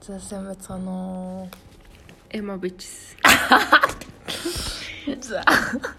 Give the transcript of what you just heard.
За сайн байцгаана уу. Эмма bitches. За.